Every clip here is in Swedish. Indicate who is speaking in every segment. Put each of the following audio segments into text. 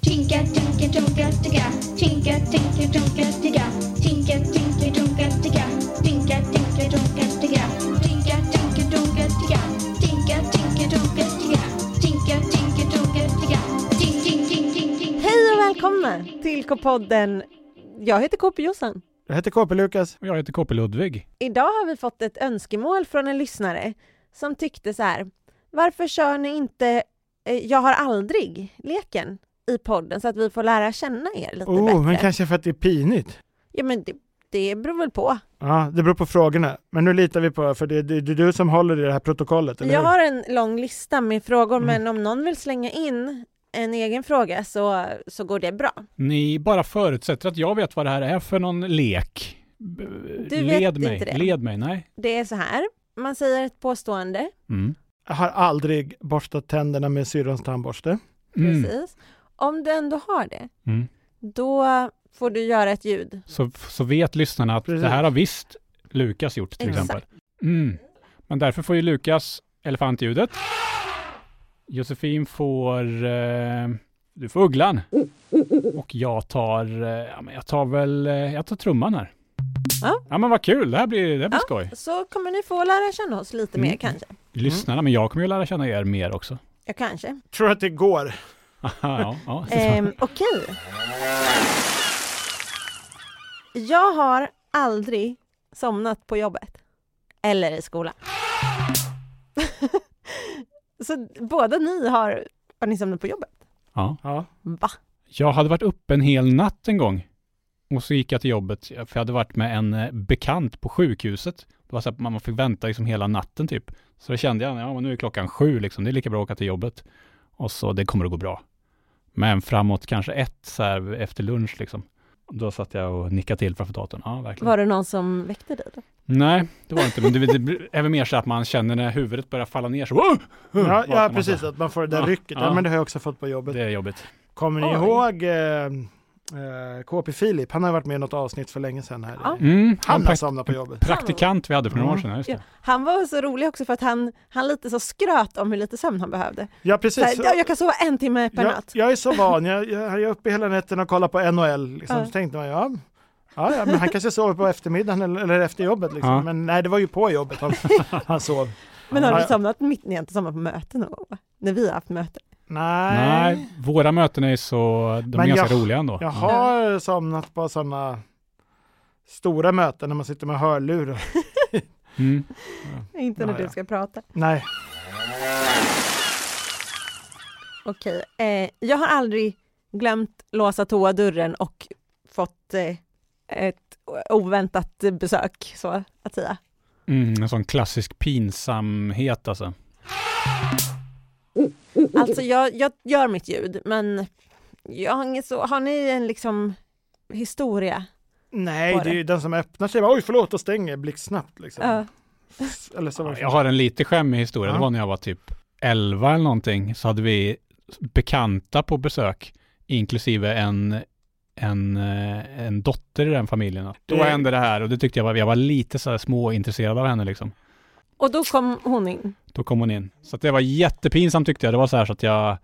Speaker 1: Tinka, tinka, tonka, tigga. Tinka, tinka, tonka, tigga. Tinka, tinka, tonka, tigga. Tinka, tinka, tonka, tigga. Tinka, tinka, tonka, tigga. Tinka, tinka, tonka, tigga. Tinka, tinka, tonka, tigga. Tink, tink, tink, tink, tink.
Speaker 2: Hej och välkomna till K-podden. Jag heter KP Jossan.
Speaker 3: Jag heter KP Lukas.
Speaker 4: Och Jag heter KP Ludvig.
Speaker 2: Idag har vi fått ett önskemål från en lyssnare som tyckte så här. Varför kör ni inte eh, Jag har aldrig-leken i podden så att vi får lära känna er lite
Speaker 3: Oh, men
Speaker 2: bättre?
Speaker 3: kanske för att det är pinigt.
Speaker 2: Ja, men det, det beror väl på.
Speaker 3: Ja, det beror på frågorna. Men nu litar vi på, för det, det, det är du som håller i det Mm. här protokollet, eller
Speaker 2: Jag
Speaker 3: hur?
Speaker 2: har en lång lista med frågor, men om någon vill slänga in en egen fråga så, så går det bra.
Speaker 4: Ni bara förutsätter att jag vet vad det här är för någon lek. B-
Speaker 2: Du vet
Speaker 4: Led
Speaker 2: inte
Speaker 4: mig.
Speaker 2: det.
Speaker 4: Led mig, nej.
Speaker 2: Det är så här. Man säger ett påstående,
Speaker 4: Mm.
Speaker 3: Jag har aldrig borstat tänderna med syrrans tandborste.
Speaker 4: Mm.
Speaker 2: precis. Om du ändå har det,
Speaker 4: Mm.
Speaker 2: då får du göra ett ljud.
Speaker 4: Så, så vet lyssnarna att
Speaker 3: Precis.
Speaker 4: det här har visst Lukas gjort till
Speaker 2: Exakt.
Speaker 4: exempel. Mm. Men därför får ju Lukas elefantljudet. Josefin får... Eh, du får ugglan. Och jag tar... Eh, ja, men jag tar väl... Eh, jag tar trumman här.
Speaker 2: Ja.
Speaker 4: ja men vad kul, det här blir, det här blir
Speaker 2: Ja.
Speaker 4: skoj.
Speaker 2: Så kommer ni få lära känna oss lite
Speaker 4: Mm.
Speaker 2: mer kanske.
Speaker 4: Lyssnarna, men jag kommer ju lära känna er mer också.
Speaker 2: Ja, kanske.
Speaker 3: Tror att det går?
Speaker 4: ja, ja.
Speaker 2: Ehm, Okej. Jag har aldrig somnat på jobbet. Eller i skolan. Så båda ni har, har ni somnat på jobbet?
Speaker 4: ja.
Speaker 3: Ja.
Speaker 2: Va?
Speaker 4: Jag hade varit uppe en hel natt en gång. Och så gick jag till jobbet, för jag hade varit med en eh, bekant på sjukhuset. Det var så att man fick vänta liksom hela natten typ. Så då kände jag, ja men nu är klockan sju liksom, det är lika bra att åka till jobbet. Och så, det kommer att gå bra. Men framåt kanske ett så här efter lunch liksom. Då satt jag och nickade till framför datorn. Ja, verkligen.
Speaker 2: Var det någon som väckte dig? Då?
Speaker 4: Nej, det var det inte. Men det, det blir även mer så att man känner när huvudet börjar falla ner så. "Åh!"
Speaker 3: Ja,
Speaker 4: Vaknar
Speaker 3: ja,
Speaker 4: man
Speaker 3: precis.
Speaker 4: så här.
Speaker 3: Att man får det där
Speaker 4: Ja,
Speaker 3: rycket. Ja,
Speaker 4: ja.
Speaker 3: men det har jag också fått på jobbet.
Speaker 4: Det är jobbigt.
Speaker 3: Kommer ni
Speaker 2: Oj.
Speaker 3: ihåg eh, eh, KP Filip? Han har varit med i något avsnitt för länge sedan här.
Speaker 2: Ja.
Speaker 4: Mm,
Speaker 3: Han alltså-
Speaker 4: en
Speaker 3: har
Speaker 4: prakt-
Speaker 3: somnat på jobbet.
Speaker 4: praktikant vi hade för några år sedan. ja, Just
Speaker 2: Ja,
Speaker 4: det.
Speaker 2: han var så rolig också för att han, han lite så skröt om hur lite sömn han behövde.
Speaker 3: Ja,
Speaker 2: Så här,
Speaker 3: precis.
Speaker 2: "Ja, jag kan sova en timme per
Speaker 3: jag,
Speaker 2: natt.
Speaker 3: jag är så van. Jag, jag, jag är uppe hela nätterna och kollar på NHL. Liksom.
Speaker 2: Ja.
Speaker 3: Så tänkte man, ja, ja, ja men han kanske sover på eftermiddagen eller, eller efter jobbet. Liksom.
Speaker 4: Ja.
Speaker 3: Men nej, det var ju på jobbet han, han sov.
Speaker 2: Men har
Speaker 3: Ja,
Speaker 2: du
Speaker 3: ja.
Speaker 2: somnat mitt, ni har inte somnat på möten någon gång va? När vi har haft möten?
Speaker 3: Nej,
Speaker 4: Nej, våra möten är så, de
Speaker 3: Men
Speaker 4: är ganska
Speaker 3: jag-
Speaker 4: roliga ändå.
Speaker 3: jag har somnat på sådana stora möten när man sitter med hörlurar.
Speaker 4: Mm.
Speaker 2: Inte när
Speaker 3: Ja,
Speaker 2: du
Speaker 3: ja.
Speaker 2: ska prata.
Speaker 3: Nej,
Speaker 2: Okej, eh, jag har aldrig glömt låsa toadörren och fått eh, ett oväntat besök, så att säga.
Speaker 4: Mm, en sån klassisk pinsamhet alltså.
Speaker 2: Alltså jag, jag gör mitt ljud, men jag har, inget så, har ni en liksom historia?
Speaker 3: nej
Speaker 2: Var
Speaker 3: det är
Speaker 2: det?
Speaker 3: ju den som öppnar sig. Bara, Oj, förlåt, och stänger blixtsnabbt. Liksom.
Speaker 2: Ja.
Speaker 3: Eller så var det
Speaker 4: Jag har en lite skämmig historia.
Speaker 3: Ja.
Speaker 4: Det var när jag var typ 11 eller någonting så hade vi bekanta på besök, inklusive en, en, eh, en dotter i den familjen. Då
Speaker 3: Det-
Speaker 4: hände det här och det tyckte jag var, jag var lite så här småintresserad av henne liksom.
Speaker 2: Och då kom hon in.
Speaker 4: Då kom hon in. Så att det var jättepinsamt tyckte jag. Det var så här så att jag,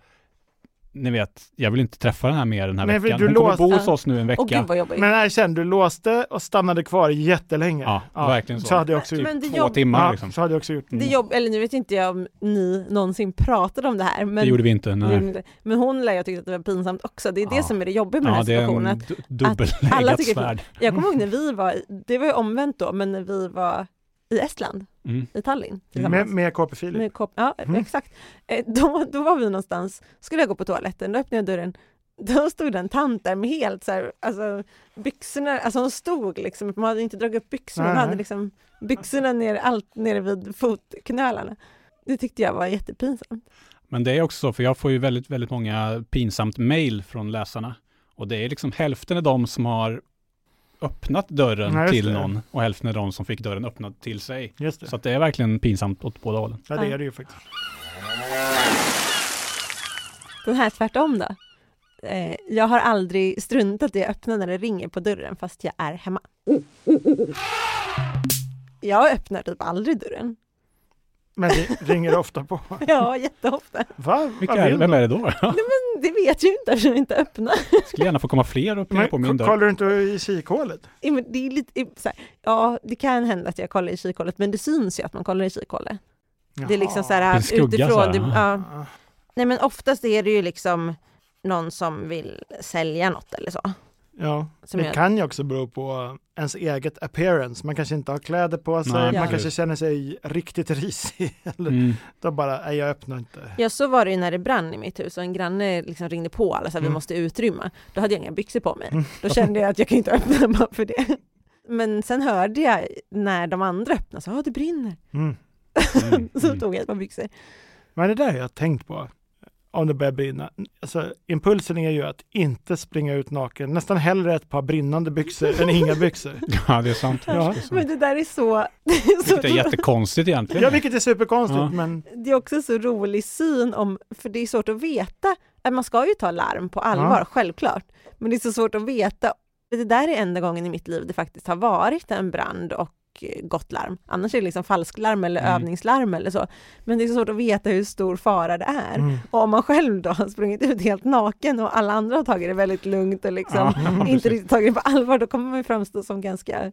Speaker 4: ni vet, jag vill inte träffa den här mer den här
Speaker 3: Nej, för
Speaker 4: veckan.
Speaker 3: du
Speaker 4: Hon kommer
Speaker 3: låste-
Speaker 4: bo hos oss nu en vecka.
Speaker 2: Åh gud vad jobbigt.
Speaker 3: Men erkänn, du låste och stannade kvar jättelänge.
Speaker 4: Ja, verkligen så. typ
Speaker 3: Så hade jag också gjort.
Speaker 2: men det,
Speaker 4: Två
Speaker 2: jobb,
Speaker 4: timmar
Speaker 3: Ja,
Speaker 4: liksom.
Speaker 3: så hade jag också gjort.
Speaker 2: det jobb, eller nu vet inte jag om ni någonsin pratade om det här, men
Speaker 4: det gjorde vi inte. Nej.
Speaker 2: Men- Men hon lär ju ha tyckt att det var pinsamt också. Det är det
Speaker 4: Ja.
Speaker 2: som är det jobbiga med den
Speaker 4: Ja,
Speaker 2: här
Speaker 4: det är
Speaker 2: situationen.
Speaker 4: en
Speaker 2: Att
Speaker 4: du-
Speaker 2: alla
Speaker 4: dubbeleggat
Speaker 2: tycker-
Speaker 4: svärd.
Speaker 2: jag kommer ihåg när vi var, i- det var ju omvänt då, men när vi var i Estland,
Speaker 4: Mm.
Speaker 2: i Tallinn
Speaker 3: Med,
Speaker 2: tillsammans.
Speaker 3: med KP Filip.
Speaker 2: Med kop- ja,
Speaker 3: Mm.
Speaker 2: exakt. Eh, Då, då var vi någonstans, skulle jag gå på toaletten, då öppnade jag dörren. Då stod den tant där med helt så här, alltså byxorna, alltså hon stod liksom, man hade inte dragit upp byxorna, hon
Speaker 3: Nej.
Speaker 2: hade liksom byxorna ner, allt nere vid fotknölarna. Det tyckte jag var jättepinsamt.
Speaker 4: Men det är också så, för jag får ju väldigt, väldigt många pinsamt mejl från läsarna. Och det är liksom hälften av de som har öppnat dörren
Speaker 3: Nej, just
Speaker 4: till
Speaker 3: det.
Speaker 4: någon och hälften av de som fick dörren öppnad till sig.
Speaker 3: Just det.
Speaker 4: Så att det är verkligen pinsamt åt båda hållen.
Speaker 3: Ja, det är det ju faktiskt.
Speaker 2: Den här tvärtom då. Eh, jag har aldrig struntat i att öppna när det ringer på dörren fast jag är hemma. Jag öppnar typ aldrig dörren.
Speaker 3: Men vi ringer ofta på.
Speaker 2: Ja, jätteofta.
Speaker 3: Va?
Speaker 4: Vilka
Speaker 3: Vad
Speaker 4: är det?
Speaker 3: vill
Speaker 4: Vem
Speaker 3: du?
Speaker 4: är det då?
Speaker 2: Det vet ju inte eftersom vi inte öppnar.
Speaker 4: Skulle gärna få komma fler och pilla
Speaker 3: Men
Speaker 4: på min
Speaker 3: ko-
Speaker 4: dörr.
Speaker 3: kollar du inte i kikhålet?
Speaker 2: Ja, men Det är lite, så här, ja, det kan hända att jag kollar i kikhålet, men det syns ju att man kollar i kikhålet. Det är liksom så
Speaker 4: Det är
Speaker 2: här
Speaker 4: en skugga
Speaker 2: utifrån.
Speaker 4: så här. Mm.
Speaker 2: Det, ja.
Speaker 3: Ja.
Speaker 2: Nej, men oftast är det ju liksom någon som vill sälja något eller så.
Speaker 3: Ja,
Speaker 2: Som
Speaker 3: det
Speaker 2: jag,
Speaker 3: kan ju också bero på ens eget appearance. Man kanske inte har kläder på sig,
Speaker 4: Nej,
Speaker 3: man
Speaker 4: precis.
Speaker 3: kanske känner sig riktigt risig. Eller
Speaker 4: Mm.
Speaker 3: då bara, nej jag öppnar inte.
Speaker 2: ja, så var det ju när det brann i mitt hus och en granne liksom ringde på alla så här, vi
Speaker 3: Mm.
Speaker 2: måste utrymma. Då hade jag inga byxor på mig. Då kände jag att jag kan inte öppna bara för det. Men sen hörde jag när de andra öppnade, så, ah, det brinner.
Speaker 3: Mm.
Speaker 4: Mm.
Speaker 2: Så
Speaker 4: Mm.
Speaker 2: tog jag ett par byxor.
Speaker 3: Men det där har jag tänkt på, om det börjar brinna. Alltså, impulsen är ju att inte springa ut naken, nästan hellre ett par brinnande byxor än inga byxor.
Speaker 4: Ja, det är sant.
Speaker 3: Ja.
Speaker 2: Men det där är så... Det är, så
Speaker 4: Vilket är jättekonstigt egentligen.
Speaker 3: Ja, vilket är superkonstigt,
Speaker 4: Ja.
Speaker 3: men
Speaker 2: det är också så rolig syn om, för det är svårt att veta, att man ska ju ta larm på allvar,
Speaker 3: Ja.
Speaker 2: självklart, men det är så svårt att veta. Det där är enda gången i mitt liv det faktiskt har varit en brand och eh, gått larm. Annars är det liksom falsklarm eller
Speaker 4: Mm.
Speaker 2: övningslarm eller så. Men det är så svårt att veta hur stor fara det är.
Speaker 3: mm.
Speaker 2: Och om man själv då har sprungit ut helt naken och alla andra har tagit det väldigt lugnt och liksom
Speaker 4: Ja,
Speaker 2: inte
Speaker 4: precis.
Speaker 2: riktigt tagit det på allvar, då kommer man ju framstå som ganska...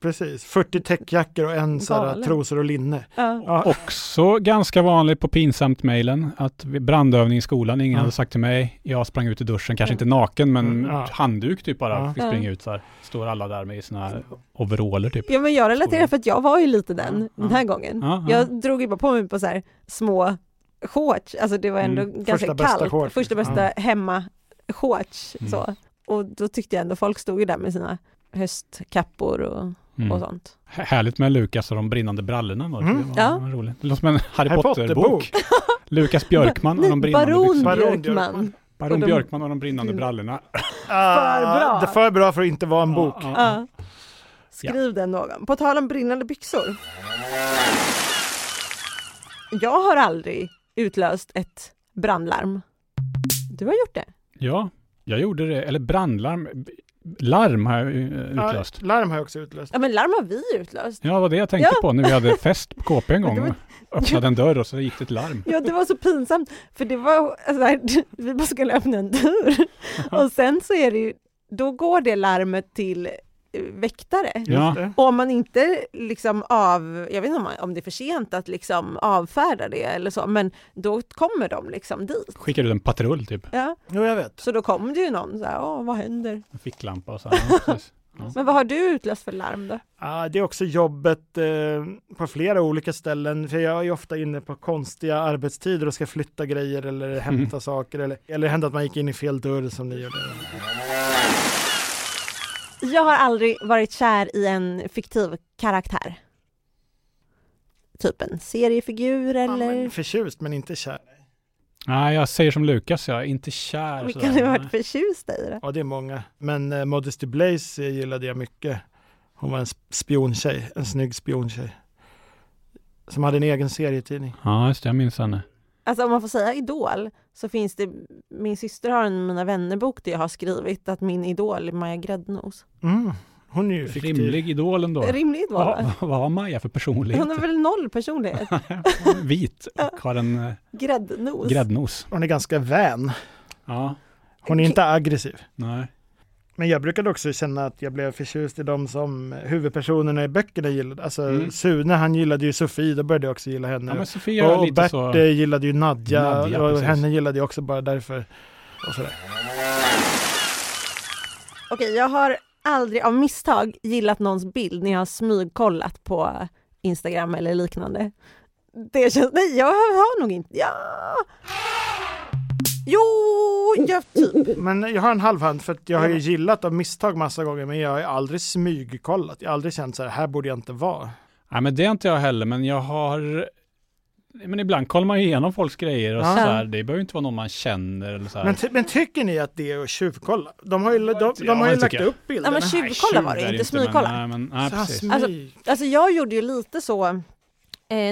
Speaker 3: precis. 40 täckjackor och en så här,
Speaker 2: Galen.
Speaker 3: trosor och linne.
Speaker 2: Ja.
Speaker 3: Ja.
Speaker 4: Också ganska vanligt på pinsamt-mailen att vid brandövning i skolan, ingen
Speaker 3: Ja. Mm,
Speaker 4: hade sagt till mig, jag sprang ut i duschen, kanske
Speaker 2: Ja.
Speaker 4: inte naken men
Speaker 3: Ja.
Speaker 4: handduk typ bara,
Speaker 3: Ja.
Speaker 4: fick springa ut så här. Står alla där med sina här overaller typ.
Speaker 2: Ja men jag relaterar
Speaker 4: Skolan.
Speaker 2: för att jag var ju lite den,
Speaker 4: Ja, ja.
Speaker 2: den här
Speaker 3: Mm.
Speaker 2: gången.
Speaker 4: Ja, ja.
Speaker 2: Jag drog ju bara på mig på så här små shorts, alltså det var ändå
Speaker 4: Mm.
Speaker 2: ganska
Speaker 3: Första bästa
Speaker 2: kallt.
Speaker 3: shorts,
Speaker 2: Första
Speaker 3: liksom.
Speaker 2: bästa hemma shorts
Speaker 4: Mm.
Speaker 2: så. Och då tyckte jag ändå folk stod ju där med sina höstkappor och,
Speaker 4: Mm.
Speaker 2: och sånt.
Speaker 4: H- Härligt med Lukas och de brinnande brallorna. Då.
Speaker 3: Mm.
Speaker 4: Det var
Speaker 2: Ja.
Speaker 4: roligt. Det låter som en Harry,
Speaker 3: Harry
Speaker 4: Potter-bok. Lukas Björkman och de
Speaker 2: Nej,
Speaker 4: brinnande
Speaker 2: Baron
Speaker 4: byxorna.
Speaker 3: Baron
Speaker 2: Björkman.
Speaker 4: Baron
Speaker 2: och de-
Speaker 4: Björkman och de brinnande brallorna.
Speaker 3: Ah,
Speaker 2: bra.
Speaker 3: Det är för bra för att inte vara en bok.
Speaker 4: Ja, ja,
Speaker 2: Ja. Skriv den någon. På tal om brinnande byxor. Jag har aldrig utlöst ett brandlarm. Du har gjort det?
Speaker 4: ja, jag gjorde det. Eller brandlarm. b- Larm har jag eh,
Speaker 3: Ja,
Speaker 4: utlöst.
Speaker 3: larm har jag också utlöst.
Speaker 2: Ja men larm har vi utlöst.
Speaker 4: Ja, det var det jag tänkte
Speaker 2: Ja.
Speaker 4: på när vi hade fest på KP en
Speaker 2: Det
Speaker 4: gång.
Speaker 2: var-
Speaker 4: Öppnade en dörr och så gick det ett larm.
Speaker 2: Ja, det var så pinsamt, för det var, alltså, här, vi bara skulle öppna en dörr och sen så är det ju, då går det larmet till eh, väktare.
Speaker 4: Ja.
Speaker 3: Just det.
Speaker 2: Och om man inte liksom av, jag vet inte om, man, om det är för sent att liksom avfärda det eller så, men då kommer de liksom dit.
Speaker 4: Skickade ut en patrull typ.
Speaker 2: Ja,
Speaker 3: Jo, jag vet.
Speaker 2: så då kom det ju någon så här, "Åh, vad händer?
Speaker 4: En ficklampa och så. här. Ja, precis.
Speaker 2: Men vad har du utlöst för larm då?
Speaker 3: Ja, det är också jobbet eh, på flera olika ställen, för jag är ju ofta inne på konstiga arbetstider och ska flytta grejer eller hämta
Speaker 4: Mm.
Speaker 3: saker eller, eller hända att man gick in i fel dörr som ni gjorde.
Speaker 2: Jag har aldrig varit kär i en fiktiv karaktär. Typ en seriefigur
Speaker 3: Ja,
Speaker 2: eller?
Speaker 3: men förtjust men inte kär.
Speaker 4: Nej, jag säger som Lukas, jag är inte kär.
Speaker 2: Vilka
Speaker 4: sådär.
Speaker 2: har du varit förtjust i då?
Speaker 3: Ja, det är många. Men eh, Modesty Blaze eh, gillade jag mycket. Hon var en sp- spiontjej, en snygg spiontjej. Som hade en egen serietidning.
Speaker 4: Ja, just det, jag minns henne.
Speaker 2: Alltså om man får säga idol så finns det, min syster har en Mina vännerbok där jag har skrivit att min idol är Maja Gräddnos.
Speaker 3: Mm. Hon är ju fiktiv.
Speaker 4: Rimlig idol ändå.
Speaker 2: Rimlig idol
Speaker 4: Vad,
Speaker 2: va?
Speaker 4: vad har Maja för personlighet?
Speaker 2: Hon har väl noll personlighet?
Speaker 4: Vit och har en eh,
Speaker 2: Gräddnos.
Speaker 4: gräddnos.
Speaker 3: Hon är ganska vän.
Speaker 4: Ja,
Speaker 3: Hon är inte aggressiv.
Speaker 4: nej.
Speaker 3: Men jag brukade också känna att jag blev förtjust i de som huvudpersonerna i böckerna gillade. Alltså
Speaker 4: Mm.
Speaker 3: Sune, han gillade ju Sofie, då började jag också gilla henne.
Speaker 4: Ja, men Sofia är
Speaker 3: och
Speaker 4: lite
Speaker 3: Bert
Speaker 4: så...
Speaker 3: eh, gillade ju Nadja,
Speaker 4: Nadja,
Speaker 3: och
Speaker 4: precis.
Speaker 3: henne gillade jag också bara därför. Och sådär.
Speaker 2: Okej, jag har aldrig av misstag gillat någons bild när jag har smygkollat på Instagram eller liknande. Det känns, nej jag har nog inte, ja. Jo, jag typ.
Speaker 3: Men jag har en halv hand för att jag har ju
Speaker 2: Ja.
Speaker 3: gillat av misstag massa gånger men jag har ju aldrig smygkollat. Jag har aldrig känt så här, här borde jag inte vara.
Speaker 4: Nej, men det är inte jag heller, men jag har... Men ibland kollar man ju igenom folks grejer och
Speaker 3: Ja.
Speaker 4: sådär. Det behöver ju inte vara någon man känner eller sådär.
Speaker 3: Men, ty- men tycker ni att det är att tjuvkolla? De har ju, de, de,
Speaker 4: Ja,
Speaker 3: har ju
Speaker 4: det
Speaker 3: lagt
Speaker 4: tycker jag.
Speaker 3: upp bilderna.
Speaker 2: Ja men tjuvkolla var det, inte smygkolla.
Speaker 4: Nej, men, nej,
Speaker 3: Så här,
Speaker 4: precis.
Speaker 3: smyg.
Speaker 2: Alltså, Alltså jag gjorde ju lite så eh,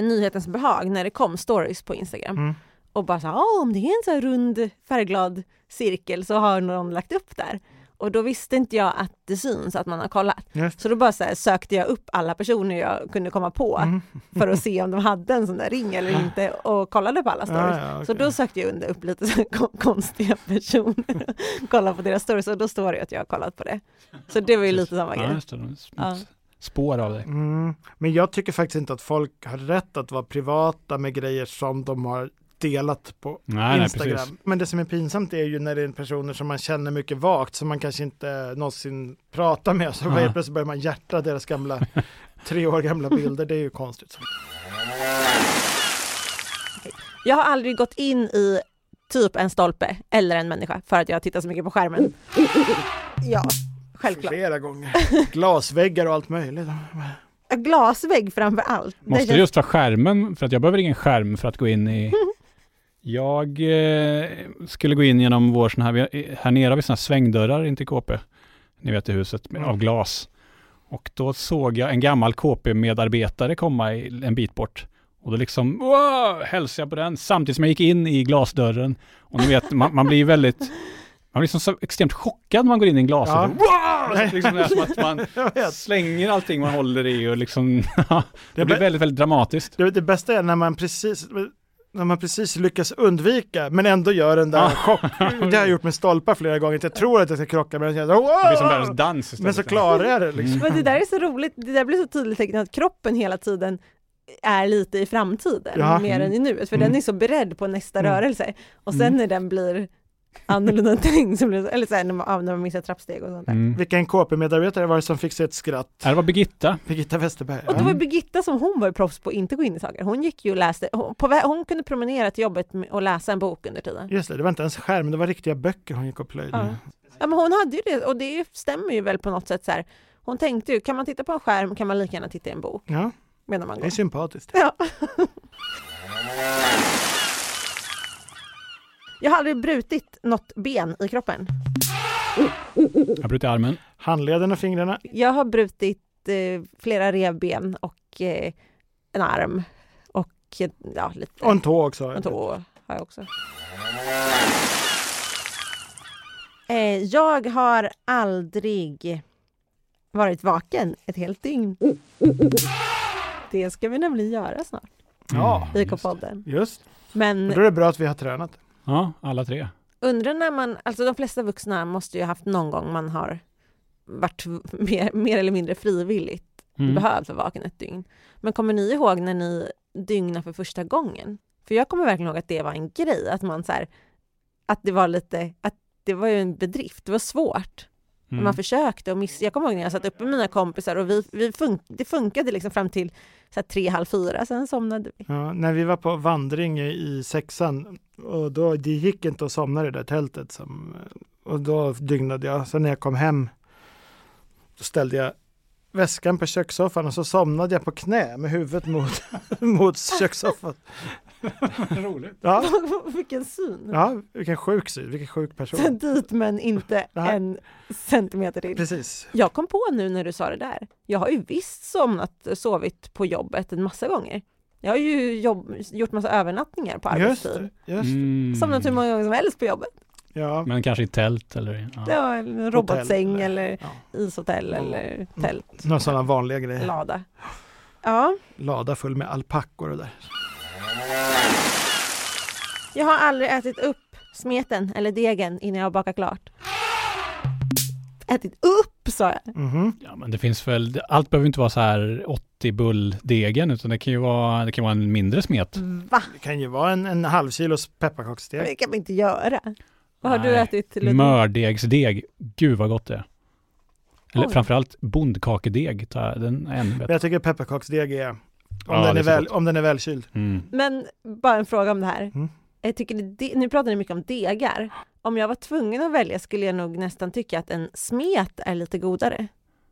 Speaker 2: nyhetens behag när det kom stories på Instagram
Speaker 3: Mm.
Speaker 2: och bara så här, "Ah, om det är en så här rund färgglad cirkel så har någon lagt upp där. Och då visste inte jag att det syns att man har kollat.
Speaker 3: Just.
Speaker 2: Så då bara så här, sökte jag upp alla personer jag kunde komma på
Speaker 3: Mm.
Speaker 2: för att se om de hade en sån där ring eller inte och kollade på alla stories.
Speaker 3: Ja, Ah, ja,
Speaker 2: Så
Speaker 3: okej.
Speaker 2: då sökte jag under upp lite så här kon- konstiga personer och kollade på deras stories och då står det att jag har kollat på det. Så det var ju lite samma
Speaker 3: Ah.
Speaker 4: Ja,
Speaker 2: grej.
Speaker 4: just det. de sm-
Speaker 2: Ja.
Speaker 4: Spår av dig.
Speaker 3: Mm. Men jag tycker faktiskt inte att folk har rätt att vara privata med grejer som de har delat på
Speaker 4: Nej, nej,
Speaker 3: Instagram.
Speaker 4: precis.
Speaker 3: Men det som är pinsamt är ju när det är personer som man känner mycket vagt som man kanske inte någonsin pratar med. Så
Speaker 4: Ja.
Speaker 3: helt plötsligt börjar man hjärta deras gamla, tre år gamla bilder. Det är ju konstigt.
Speaker 2: Jag har aldrig gått in i typ en stolpe eller en människa för att jag tittar så mycket på skärmen. Ja, självklart.
Speaker 3: Flera gånger. Glasväggar och allt möjligt.
Speaker 2: Glasvägg framför allt. Det
Speaker 4: Måste
Speaker 2: känns-
Speaker 4: det just vara skärmen? För att jag behöver ingen skärm för att gå in i... Jag eh, skulle gå in genom vår sån här, vi- här nere har vi såna här svängdörrar in till KP. Ni vet i huset, med- av glas. Och då såg jag en gammal KP-medarbetare komma i- en bit bort. Och då liksom, wow, hälsade jag på den samtidigt som jag gick in i glasdörren. Och ni vet, man, man blir ju väldigt, man blir liksom så extremt chockad när man går in i en glasdörr.
Speaker 3: Ja.
Speaker 4: Wow! Så Liksom det är som att man
Speaker 3: Jag vet.
Speaker 4: slänger allting man håller i och liksom,
Speaker 3: Det
Speaker 4: det blir
Speaker 3: blir-
Speaker 4: väldigt, väldigt dramatiskt.
Speaker 3: Det, det bästa är när man precis när man precis lyckas undvika men ändå gör den där
Speaker 4: Ah.
Speaker 3: chock. Det har jag gjort med stolpar flera gånger. att Jag tror att jag ska krocka men jag känner
Speaker 4: Det blir som världens
Speaker 3: wow!
Speaker 4: dans istället. Mm.
Speaker 3: Men så klarar jag det liksom.
Speaker 2: Men det där är så roligt, det där blir så tydligt tecken att kroppen hela tiden är lite i framtiden,
Speaker 3: Ja.
Speaker 2: mer än i nuet, för
Speaker 4: Mm.
Speaker 2: den är så beredd på nästa
Speaker 3: Mm.
Speaker 2: rörelse. Och sen
Speaker 4: Mm.
Speaker 2: när den blir annorlunda tänkt, så blir det, så- eller så här, när, man, ja, när man missar trappsteg och sånt där.
Speaker 4: Mm.
Speaker 3: Vilken KP-medarbetare var det som fick sig ett skratt?
Speaker 4: Ja, Det var Birgitta.
Speaker 3: Birgitta Westerberg.
Speaker 2: Och det var
Speaker 3: Mm. Ja.
Speaker 2: ju Birgitta som hon var ju proffs på att inte gå in i saker. Hon gick ju och läste, hon, på, vä- hon kunde promenera till jobbet med- och läsa en bok under tiden.
Speaker 3: Just det, det var inte ens skärm, det var riktiga böcker hon gick och plöjde.
Speaker 2: Ja. Ja, men hon hade ju det, och det stämmer ju väl på något sätt så här. Hon tänkte ju, kan man titta på en skärm kan man lika gärna titta i en bok
Speaker 3: Ja,
Speaker 2: medan man
Speaker 3: det
Speaker 2: går.
Speaker 3: är sympatiskt.
Speaker 2: Ja. Jag har aldrig brutit något ben i kroppen.
Speaker 4: Jag bröt i armen.
Speaker 3: Handleden och fingrarna.
Speaker 2: Jag har brutit eh, flera revben och eh, en arm och eh, ja, lite
Speaker 3: Och en tå också.
Speaker 2: en tå har jag också. Eh, jag har aldrig varit vaken ett helt dygn.
Speaker 3: Oh,
Speaker 2: Det ska vi nämligen göra snart,
Speaker 3: Ja,
Speaker 4: Mm, just det.
Speaker 2: IK-podden.
Speaker 3: Just.
Speaker 2: Men
Speaker 3: Men då är det bra att vi har tränat.
Speaker 4: Ja, alla tre. Mm.
Speaker 2: Undrar när man, alltså de flesta vuxna måste ju ha haft någon gång man har varit mer, mer eller mindre frivilligt
Speaker 4: Mm.
Speaker 2: behövd för vaken ett dygn. Men kommer ni ihåg när ni dygnade för första gången? För jag kommer verkligen ihåg att det var en grej, att man så här, att det var lite, att det var ju en bedrift, det var svårt. Men
Speaker 4: Mm.
Speaker 2: Man försökte och miss... Jag kommer ihåg när jag satt uppe med mina kompisar och vi, vi fun- det funkade liksom fram till så här tre, halv fyra, sen somnade vi.
Speaker 3: Ja, när vi var på vandring i- i sexan och då, det gick inte att somna i det där tältet. Som, och då dygnade jag. Sen när jag kom hem då ställde jag väskan på kökssoffan och så somnade jag på knä med huvudet mot, mot kökssoffan.
Speaker 4: Roligt.
Speaker 3: Ja,
Speaker 2: Vilken syn!
Speaker 3: ja, vilken sjuk syn, vilken sjuk
Speaker 2: Sen
Speaker 3: person.
Speaker 2: dit men inte
Speaker 3: Nej.
Speaker 2: en centimeter till.
Speaker 3: Precis.
Speaker 2: Jag kom på nu när du sa det där. Jag har ju visst somnat, sovit på jobbet en massa gånger. Jag har ju jobb, gjort massa övernattningar på
Speaker 3: Just
Speaker 2: arbetstid.
Speaker 3: det. Just det.
Speaker 4: Mm.
Speaker 2: Somnat hur många gånger som helst på jobbet.
Speaker 3: Ja.
Speaker 4: Men kanske i tält eller?
Speaker 2: Det
Speaker 4: Ja.
Speaker 2: var en robotsäng eller
Speaker 3: Ja. mm,
Speaker 2: ishotell eller tält,
Speaker 3: Några sådana vanliga grejer.
Speaker 2: lada. Ja,
Speaker 3: Lada full med alpackor och där.
Speaker 2: jag har aldrig ätit upp smeten eller degen innan jag har bakat klart. Ätit upp sa jag.
Speaker 3: Mhm.
Speaker 4: ja, men det finns väl, det- allt behöver inte vara så här 80 bulldegen, utan det kan ju vara, det kan vara en mindre smet.
Speaker 2: Va?
Speaker 3: Det kan ju vara en, en halv kilos pepparkaksdeg.
Speaker 2: Det kan man inte göra. Vad har du
Speaker 4: Nej.
Speaker 2: ätit? Ludvig?
Speaker 4: Mördegsdeg, gud vad gott det är. Eller
Speaker 2: Oj.
Speaker 4: framförallt bondkakedeg, ta- den är ännu
Speaker 3: Men
Speaker 4: bättre.
Speaker 3: jag tycker pepparkaksdeg är, om,
Speaker 4: Ja,
Speaker 3: den
Speaker 4: det
Speaker 3: är
Speaker 4: är så
Speaker 3: väl,
Speaker 4: gott.
Speaker 3: om den är välkyld.
Speaker 4: Mm.
Speaker 2: Men bara en fråga om det här.
Speaker 3: Mm.
Speaker 2: Jag tycker det, de- nu pratar ni mycket om degar. Om jag var tvungen att välja skulle jag nog nästan tycka att en smet är lite godare.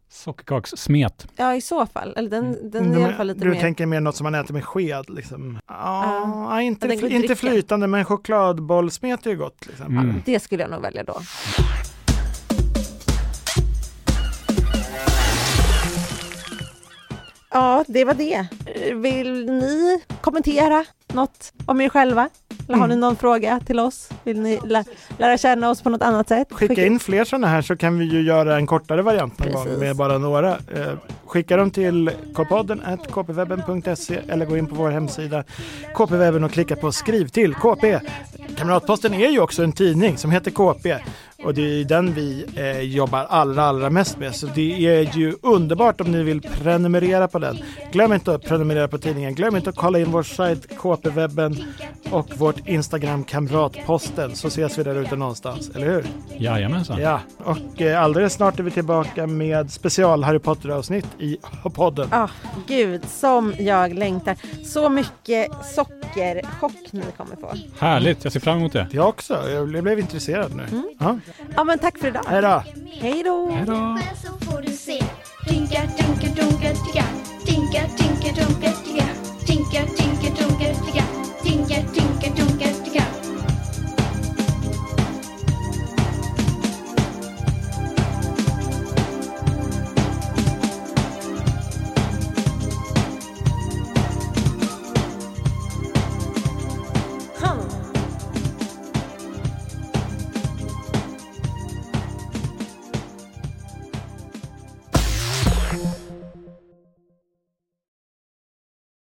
Speaker 4: Sockerkakssmet.
Speaker 2: Ja, i så fall. Eller den, den är
Speaker 3: Men
Speaker 2: i alla fall lite
Speaker 3: Mm. du
Speaker 2: mer...
Speaker 3: tänker mer något som man äter med sked liksom? Ja, nej,
Speaker 2: Ja,
Speaker 3: inte,
Speaker 2: den går att
Speaker 3: inte
Speaker 2: dricka.
Speaker 3: flytande men chokladbollsmet är ju gott. Liksom.
Speaker 4: Mm.
Speaker 2: Det skulle jag nog välja då. Ja, det var det. Vill ni kommentera något om er själva? Har ni
Speaker 3: Mm.
Speaker 2: någon fråga till oss? Vill ni lä- lära känna oss på något annat sätt?
Speaker 3: Skicka in fler sådana här så kan vi ju göra en kortare variant någon
Speaker 2: Precis.
Speaker 3: gång med bara några. Eh, Skicka dem till kpodden at kpwebben.se eller gå in på vår hemsida kpwebben och klicka på skriv till KP. Kamratposten är ju också en tidning som heter KP och det är den vi eh, jobbar allra, allra mest med. Så det är ju underbart om ni vill prenumerera på den. Glöm inte att prenumerera på tidningen. Glöm inte att kolla in vår sajt KP-webben och vårt Instagram Kamratposten så ses vi där ute någonstans, eller hur?
Speaker 4: Jajamensan.
Speaker 3: Ja, och eh, alldeles snart är vi tillbaka med special Harry Potter-avsnitt i podden.
Speaker 2: Ah, gud, som jag längtar. Så mycket sockerchock ni kommer få.
Speaker 4: Härligt, jag ser fram emot det.
Speaker 3: Jag också, jag blev- blev intresserad nu. Ja,
Speaker 2: Ja, men tack för idag.
Speaker 3: hej då!
Speaker 2: Hej då!
Speaker 4: Hej då!
Speaker 1: Själv så får du se. Tinka, tinka, dunka, tinka. Tinka, tinka, dunka, tinka. Tinka, tinka,